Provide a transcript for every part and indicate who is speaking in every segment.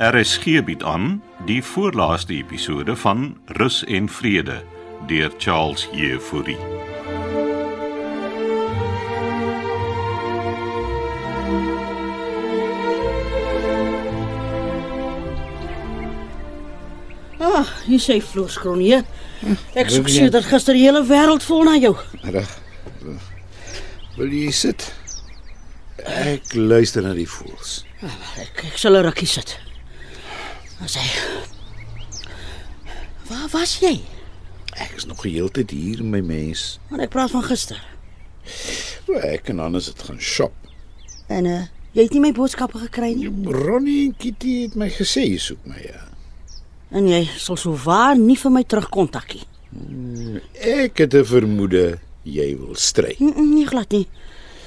Speaker 1: RSG bied Er aan die voorlaaste episode van Rus en Vrede deur Charles Jefouri.
Speaker 2: Ah, hier sê vloerskronie. Ek soek sedert gister die hele wêreld vol na jou.
Speaker 3: Reg. Wil jy sit? Ek luister na die voëls.
Speaker 2: Ek ek sal 'n rukkie sit. As hy Waar was jy?
Speaker 3: Ek is nog heeltyd hier my mens.
Speaker 2: Want ek praat van gister.
Speaker 3: O, ek en Hannes het gaan shop.
Speaker 2: En uh, jy het nie my boodskappe gekry nie.
Speaker 3: Ronnie en Kitty het my gesê jy soek my. Ja.
Speaker 2: En jy sal sou waar nie vir my terugkontakkie.
Speaker 3: Ek het 'n vermoede jy wil stry.
Speaker 2: Nee, Hm, nee glad nie.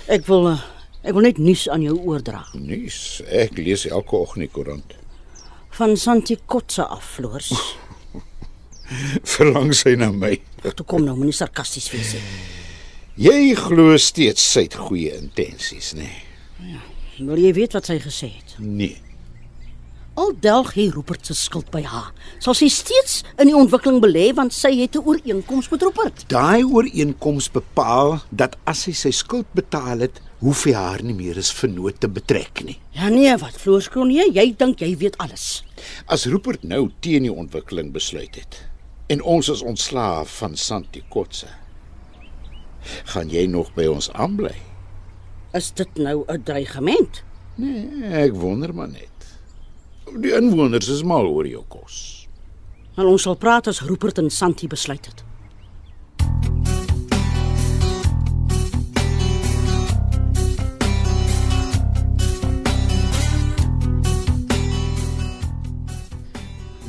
Speaker 2: Ek wil uh, ek wil net nuus aan jou oordra.
Speaker 3: Nuus. Ek lees elke oggend die koerant.
Speaker 2: Van Santi Kotse af, Floors.
Speaker 3: Verlang sy na my.
Speaker 2: Ag, toe kom nou, moenie sarkasties wees nie.
Speaker 3: Jy glo steeds sy het goeie intensies, nê? Nee.
Speaker 2: Wil jy weet wat sy gesê het?
Speaker 3: nee.
Speaker 2: Al delg hy Rupert se skuld by haar. Sal sy steeds in die ontwikkeling belê want sy het 'n ooreenkoms met Rupert.
Speaker 3: Daai ooreenkoms bepaal dat as sy sy skuld betaal het, hoef hy haar nie meer as vernoot te betrek nie.
Speaker 2: Ja nee, wat Floors Kronje, jy dink jy weet alles.
Speaker 3: As Rupert nou teen die ontwikkeling besluit het en ons is ontslaaf van Santi Kotse, gaan jy nog by ons aanbly?
Speaker 2: Is dit nou 'n dreigement?
Speaker 3: Nee, ek wonder maar net. Die inwoners is mal oor jou kos.
Speaker 2: En ons sal praat as Rupert en Santi besluit het.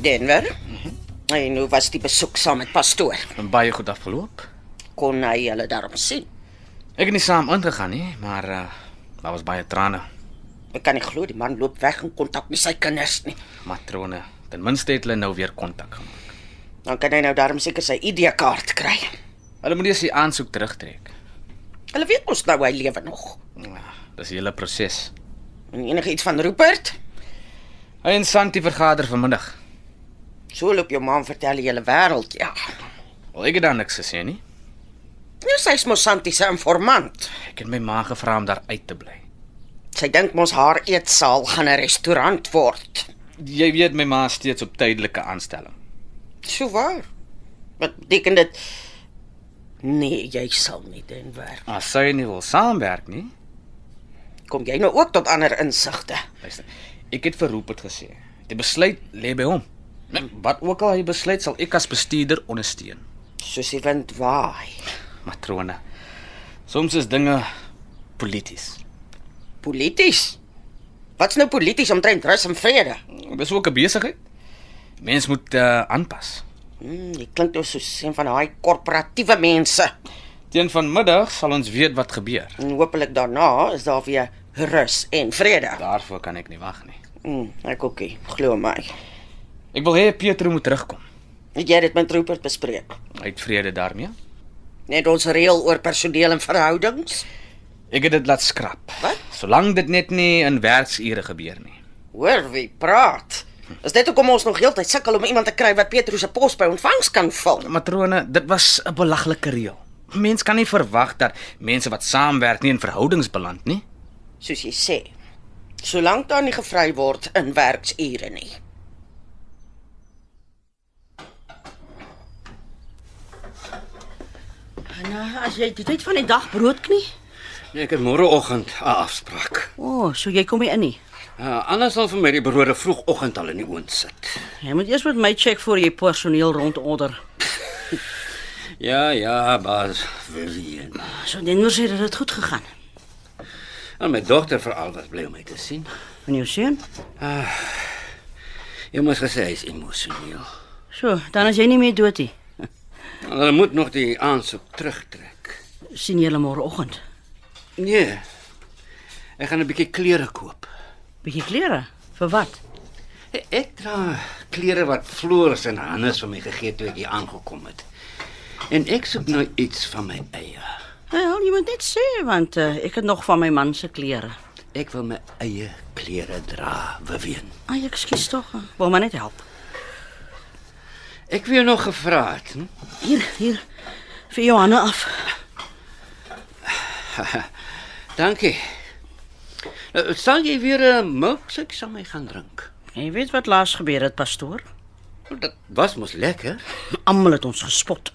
Speaker 4: Denver. En hoe was die besoek saam met pastoor?
Speaker 5: baie goed afgeloop.
Speaker 4: Kon hy hulle daarom sien?
Speaker 5: Ek het nie saam ingegaan nie, maar uh daar was baie trane,
Speaker 4: Ek kan nie glo die man loop weg en kontak nie sy kinders nie.
Speaker 5: matrone. Ten minste het hulle nou weer kontak gemaak.
Speaker 4: Dan kan hy nou daarom seker sy ID-kaart kry.
Speaker 5: Hulle moet eers die aansoek terugtrek.
Speaker 4: Hulle weet mos nou hy lewe nog.
Speaker 5: Ja, dis die hele proses.
Speaker 4: En enigiets van Rupert?
Speaker 5: Hy en Santi vergader vanmiddag.
Speaker 4: So loop jou man vertel die hele wêreld, ja.
Speaker 5: Wel, ek het daar niks gesê nie.
Speaker 4: Nou sy's mos Santi se informant.
Speaker 5: Ek het my ma gevra om daar uit te bly.
Speaker 4: Sy dink mos haar eetsaal gaan 'n restaurant word.
Speaker 5: Jy weet my ma is steeds op tydelike aanstelling.
Speaker 4: So waar. Wat beteken dit? Nee, jy sal nie Denver.
Speaker 5: As sy nie wil saamwerk nie,
Speaker 4: Kom jy nou ook tot ander insigte?
Speaker 5: luister. Ek het vir Rupert gesê, die besluit lê by hom. Nou, Wat ook al hy besluit, sal ek as bestuurder ondersteun.
Speaker 4: Soos die wind waai.
Speaker 5: matrone. Soms is dinge polities.
Speaker 4: Polities. Wat's nou polities omtrent rus en vrede?
Speaker 5: Dis ook 'n besigheid. Mens moet uh, aanpas.
Speaker 4: Hmm, dit klink nou soos een van daai korporatiewe mense.
Speaker 5: Teen vanmiddag sal ons weet wat gebeur.
Speaker 4: En hopelik daarna is daar weer rus en vrede.
Speaker 5: Daarvoor kan ek nie wag nie.
Speaker 4: Hmm, ek ookie, glo my.
Speaker 5: Ek wil hê Pietro moet terugkom.
Speaker 4: Het jy dit met Rupert bespreek?
Speaker 5: Hy het vrede daarmee.
Speaker 4: Net ons reël oor personeel en verhoudings?
Speaker 5: Ek het dit laat skrap.
Speaker 4: Wat?
Speaker 5: Solank dit net nie in werksure gebeur nie.
Speaker 4: Hoor wie praat. Is dit hoekom ons nog heeltyd sukkel om iemand te kry wat Petrus se pos by ontvangs kan vul?
Speaker 5: Matrone, dit was 'n belaglike reël. Mens kan nie verwag dat mense wat saamwerk nie in verhoudings beland nie.
Speaker 4: Soos jy sê. Solank daar nie gevry word in werksure nie.
Speaker 2: Nou, as jy die tyd van die dag brood knie.
Speaker 6: Ek het môreoggend 'n afspraak.
Speaker 2: O, oh, so jy kom nie in nie.
Speaker 6: Uh, Anna sal vir my die brode vroegoggend al in die oond sit.
Speaker 2: Jy moet eers met my check voor jy personeel rondorder.
Speaker 6: Ja, ja, baas William.
Speaker 2: So Denver sê dit het goed gegaan.
Speaker 6: En Nou, my dogter veral was bly om my te sien.
Speaker 2: En jou seun?
Speaker 6: Jy moes gesê hy is emosioneel.
Speaker 2: So, dan is jy nie meer dood nie.
Speaker 6: En Hulle moet nog die aansoek terugtrek.
Speaker 2: Sien julle môreoggend.
Speaker 6: Nee. Ek gaan 'n bietjie klere koop.
Speaker 2: Bietjie klere. Vir wat?
Speaker 6: Ek dra klere wat Floris en Hannes vir my gegee het toe ek hier aangekom het. En ek soek nou iets van my eie.
Speaker 2: eh, Nou, jy moet net sê want uh, ek het nog van my man se klere.
Speaker 6: Ek wil my eie klere dra, Vivian.
Speaker 2: Ai, ekskuus tog. Wil eh. maar net help.
Speaker 6: Ek wou jou nog gevra het. Hm?
Speaker 2: Hier, hier. Vir Johanna af.
Speaker 6: Dankie. Nou, sal jy weer 'n milkshake saam met my gaan drink?
Speaker 2: Jy weet wat laas gebeur het, pastoor?
Speaker 6: Nou, Dit was mos lekker.
Speaker 2: Almal het ons gespot.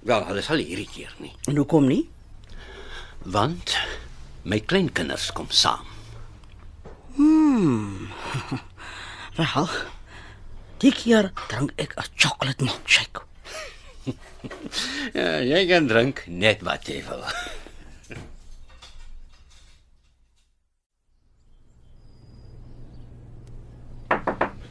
Speaker 6: Wel, hulle sal hierdie keer nie,
Speaker 2: En hoekom nie?
Speaker 6: want my kleinkinders kom saam.
Speaker 2: Wel. Die keer drink ek 'n chocolate milkshake.
Speaker 6: Ja, jy kan drink net wat jy wil.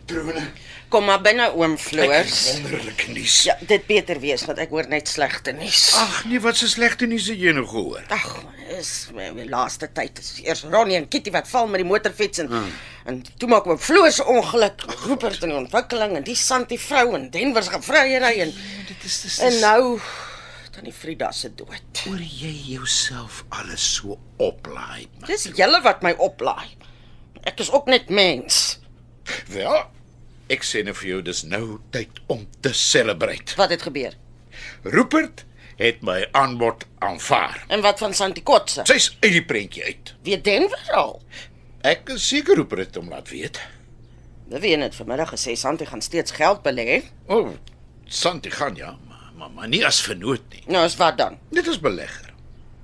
Speaker 3: Trone,
Speaker 4: Kom maar binne oom Floors.
Speaker 3: wonderlike nuus.
Speaker 4: Ja, dit beter wees want ek hoor net slegte nuus.
Speaker 3: Ag nee, wat 'n slegte nuus het jy nou gehoor?
Speaker 4: Ag, is my, my laaste tyd is eers Ronnie en Kitty wat val met die motorfiets en hmm. en toe maak oom Floors ongeluk, Rupert en ontwikkeling en die Santi vrou en Denver se gevryery en
Speaker 3: Dit is dis
Speaker 4: en nou tannie Frida se dood.
Speaker 3: oor jy jouself alles so oplaai.
Speaker 4: Dis julle wat my oplaai. Ek is ook net mens.
Speaker 3: Wel, ek sê net vir jou dis nou tyd om te celebrate.
Speaker 4: Wat het gebeur?
Speaker 3: Rupert het my aanbod aanvaar.
Speaker 4: En wat van Santi Kotse?
Speaker 3: Sy's uit die prentjie uit.
Speaker 4: Weet Denver al?
Speaker 3: Ek is seker Rupert het hom laat weet.
Speaker 4: Beween het vanmiddag gesê Santi gaan steeds geld belê.
Speaker 3: O, oh, Santi gaan ja, maar, maar maar nie as vernoot nie.
Speaker 4: Nou is wat dan?
Speaker 3: Dit is belegger.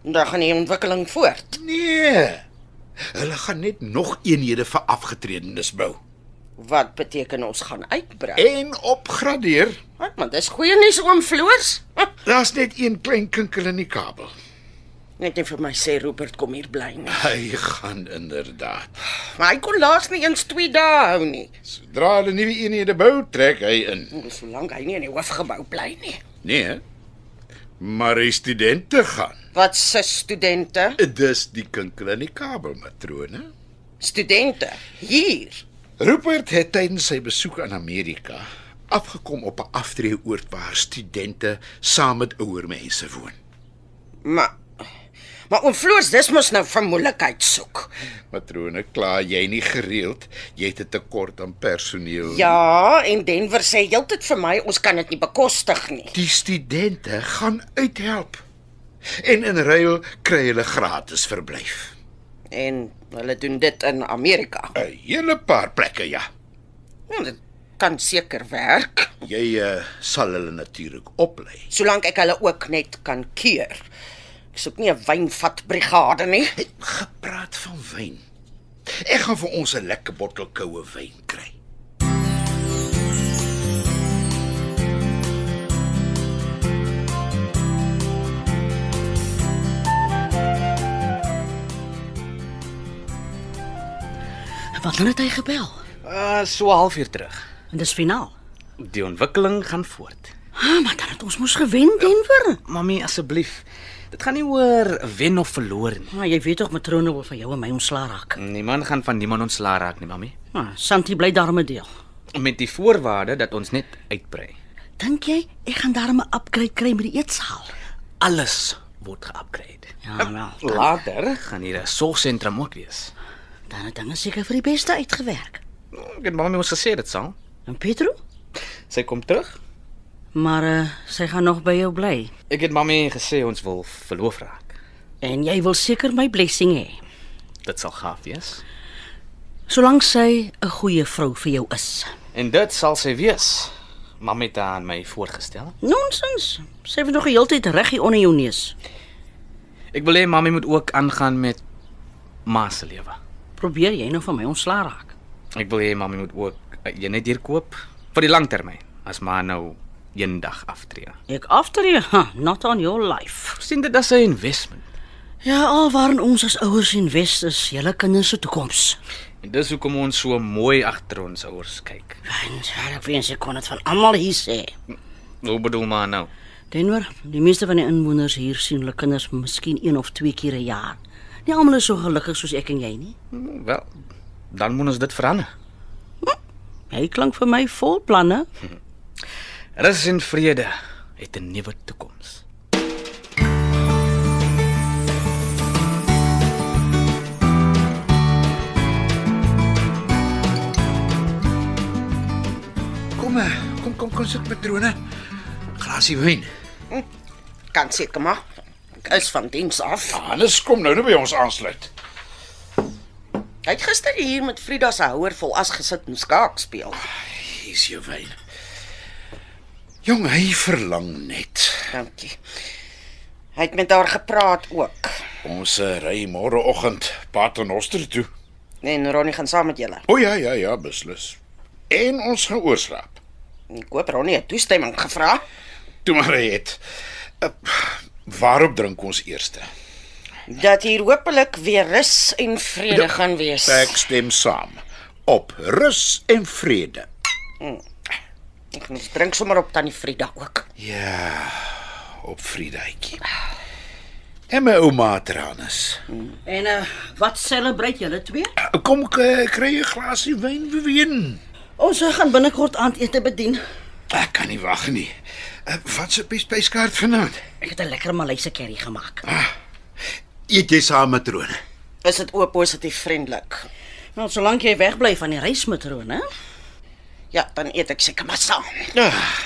Speaker 4: Dan gaan die ontwikkeling voort.
Speaker 3: Nee. Hulle gaan net nog eenhede vir afgetredenes bou
Speaker 4: Wat beteken ons gaan uitbrei?
Speaker 3: en opgradeer.
Speaker 4: Wat man, dis goeie nuus oom Floors. Huh,
Speaker 3: Daar's net een klein kinkel in die kabel.
Speaker 4: Net nie vir my sê Rupert kom hier bly nie.
Speaker 3: Hy gaan inderdaad.
Speaker 4: Maar hy kon laas nie eens 2 dae hou nie.
Speaker 3: Sodra hulle nuwe eenhede bou, trek hy in.
Speaker 4: Solank hy nie in die hoofgebou bly nie.
Speaker 3: Nee. Maar hy studente gaan.
Speaker 4: Wat se studente?
Speaker 3: Dis die kinkel in die kabel, matrone.
Speaker 4: Studente hier.
Speaker 3: Rupert het tydens sy besoek aan Amerika afgekom op 'n aftreeoord waar studente saam met ouer mense woon.
Speaker 4: Maar maar oom Floors, dis mos nou vir moeilikheid soek.
Speaker 3: Matrone, kla jy nie gereeld, jy het 'n tekort aan personeel.
Speaker 4: Ja, en Denver sê heeltyd vir my ons kan dit nie bekostig nie.
Speaker 3: Die studente gaan uithelp. En in ruil kry hulle gratis verblyf.
Speaker 4: En hulle doen dit in Amerika.
Speaker 3: 'n Hele paar plekke ja.
Speaker 4: Nou, dit kan seker werk,
Speaker 3: Jy uh, sal hulle natuurlik oplei.
Speaker 4: solank ek hulle ook net kan keer. Ek soek nie 'n wynvat brigade nie.
Speaker 3: Het gepraat van wyn. Ek gaan vir ons 'n lekker bottel koue wyn kry.
Speaker 2: Wanneer het hy gebel?
Speaker 6: Ah,
Speaker 5: Uh so 'n halfuur terug.
Speaker 2: En dis finaal.
Speaker 5: Die ontwikkeling gaan voort.
Speaker 2: Ah, maar dan het ons mos gewen Denver.
Speaker 5: Mamy, asseblief. Dit gaan nie oor wen of verloor nie.
Speaker 2: Maar jy Ah, weet tog matrone wil van jou en my ontslaa raak.
Speaker 5: Niemand gaan van niemand ontslaa raak nie, mamy.
Speaker 2: Ah, Santi bly daarmee deel.
Speaker 5: Met die voorwaarde dat ons net uitbrei.
Speaker 2: Dink jy ek gaan daarmee 'n upgrade kry met die eetsaal?
Speaker 5: Alles word ge-upgrade.
Speaker 2: Ja, wel.
Speaker 5: Later gaan hier 'n sorgsentrum ook wees.
Speaker 2: Dan het dinge seker vir die beste uitgewerk.
Speaker 5: Ek het mamma mos gesê dit sal.
Speaker 2: En Petro?
Speaker 5: Sy kom terug.
Speaker 2: Maar uh, sy gaan nog by jou bly.
Speaker 5: Ek het mamma gesê ons wil verloof raak.
Speaker 2: En jy wil seker my blessing hê.
Speaker 5: Dit sal gaaf wees.
Speaker 2: Solank sy 'n goeie vrou vir jou is.
Speaker 5: En dit sal sy wees. Mamma het haar aan my voorgestel.
Speaker 2: Nonsens. Sy het nog die hele tyd reg hier onder jou neus.
Speaker 5: Ek wil hê mamma moet ook aangaan met ma se lewe.
Speaker 2: Probeer jy nou van my ontslaa raak?
Speaker 5: Ek wil hê mamma moet ook uh, jy net hier koop vir die lang termyn as ma nou eendag aftree.
Speaker 2: Ek aftree, huh, not on your life.
Speaker 5: Sien dit as 'n investment.
Speaker 2: Ja, alwaar ons as ouers en wes is julle kinders se toekoms.
Speaker 5: En dis hoekom ons so mooi agter ons ouers kyk.
Speaker 2: En ja, ek wens ek kon dit van almal hier sê.
Speaker 5: Hoe bedoel ma nou?
Speaker 2: Denver, die meeste van die inwoners hier sien hulle kinders miskien een of twee keer 'n jaar. Nie almal is so gelukkig soos ek en jy nie.
Speaker 5: Hm, Wel, dan moet ons dit verander.
Speaker 2: Hy klink vir my vol planne.
Speaker 5: Rus en vrede het 'n nuwe toekoms.
Speaker 7: Kom eh, kom kom kom sit patrone. Grasie wyn.
Speaker 4: Kan seker maar. Ek is van diens af.
Speaker 3: Hannes kom nou net by ons aansluit.
Speaker 4: Hy het gister hier met Frida se houer vol as gesit en skaak speel.
Speaker 7: Hier's jou wyn.
Speaker 3: Jong, hy verlang net.
Speaker 4: Dankie. Hy het met haar gepraat ook.
Speaker 3: Ons eh, ry môreoggend Paternoster toe.
Speaker 4: En Ronnie gaan saam met julle.
Speaker 3: O ja, ja, ja, beslis. En ons gaan oorslaap.
Speaker 4: Ek hoop Ronnie het toestemming gevra.
Speaker 3: Toe maar hy het. Uh, waarop drink ons eerste?
Speaker 4: Dat hier hopelik weer rus en vrede gaan wees.
Speaker 3: Ek stem saam. Op rus en vrede.
Speaker 4: Ek moet drink sommer op tannie Frida ook.
Speaker 3: Ja, op Vrydaytjie. En my ouma Tranus.
Speaker 2: En uh, wat celebrate julle twee?
Speaker 3: Kom k- kry 'n glasie wyn, Wien.
Speaker 2: Ons eh, gaan binnekort aandete bedien.
Speaker 3: Ek kan nie wag nie. Eh,
Speaker 7: Uh, wat se spyskaart vanaand?
Speaker 2: Ek het 'n lekker Malayse curry gemaak.
Speaker 7: Eet jy saam matrone?
Speaker 4: Is dit ook positief vriendelik?
Speaker 2: Nou, solank jy wegbly van die reismatroon, hè?
Speaker 4: Ja, dan eet ek seker maar saam.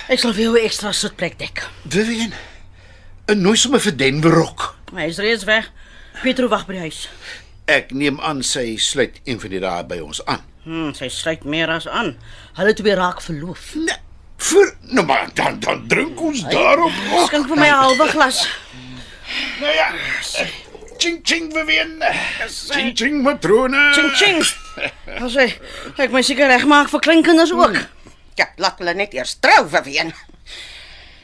Speaker 2: Ek sal vir jou 'n ekstra sitplek dek.
Speaker 7: Vivian. 'n Nooi sommer vir Denver rok.
Speaker 2: Hy is reeds weg. Pietro wag by die huis.
Speaker 3: Ek neem aan sy sluit een van die dae by ons aan.
Speaker 2: Hm, sy sluit meer as aan. Hulle twee raak verloof.
Speaker 3: Nee, vir nou maar dan dan drink ons daarop. Oh,
Speaker 2: Skink vir my 'n halwe glas.
Speaker 3: nou ja. Ching ching Vivian. Ching ching matrone.
Speaker 2: Ching ching. As hy ek my seker reg maak vir kleinkinders ook.
Speaker 4: Ja, laat hulle net eers trou vir een.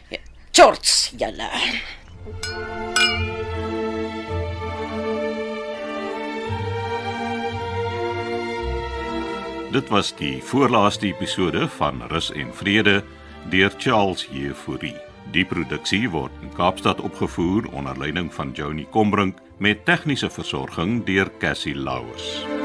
Speaker 4: Ja, Shorts julle.
Speaker 1: Dit was die voorlaaste episode van Rus en Vrede deur Charles Jefouri. Die produksie word in Kaapstad opgevoer onder leiding van Johnny Combrink met tegniese versorging deur Cassie Lauers.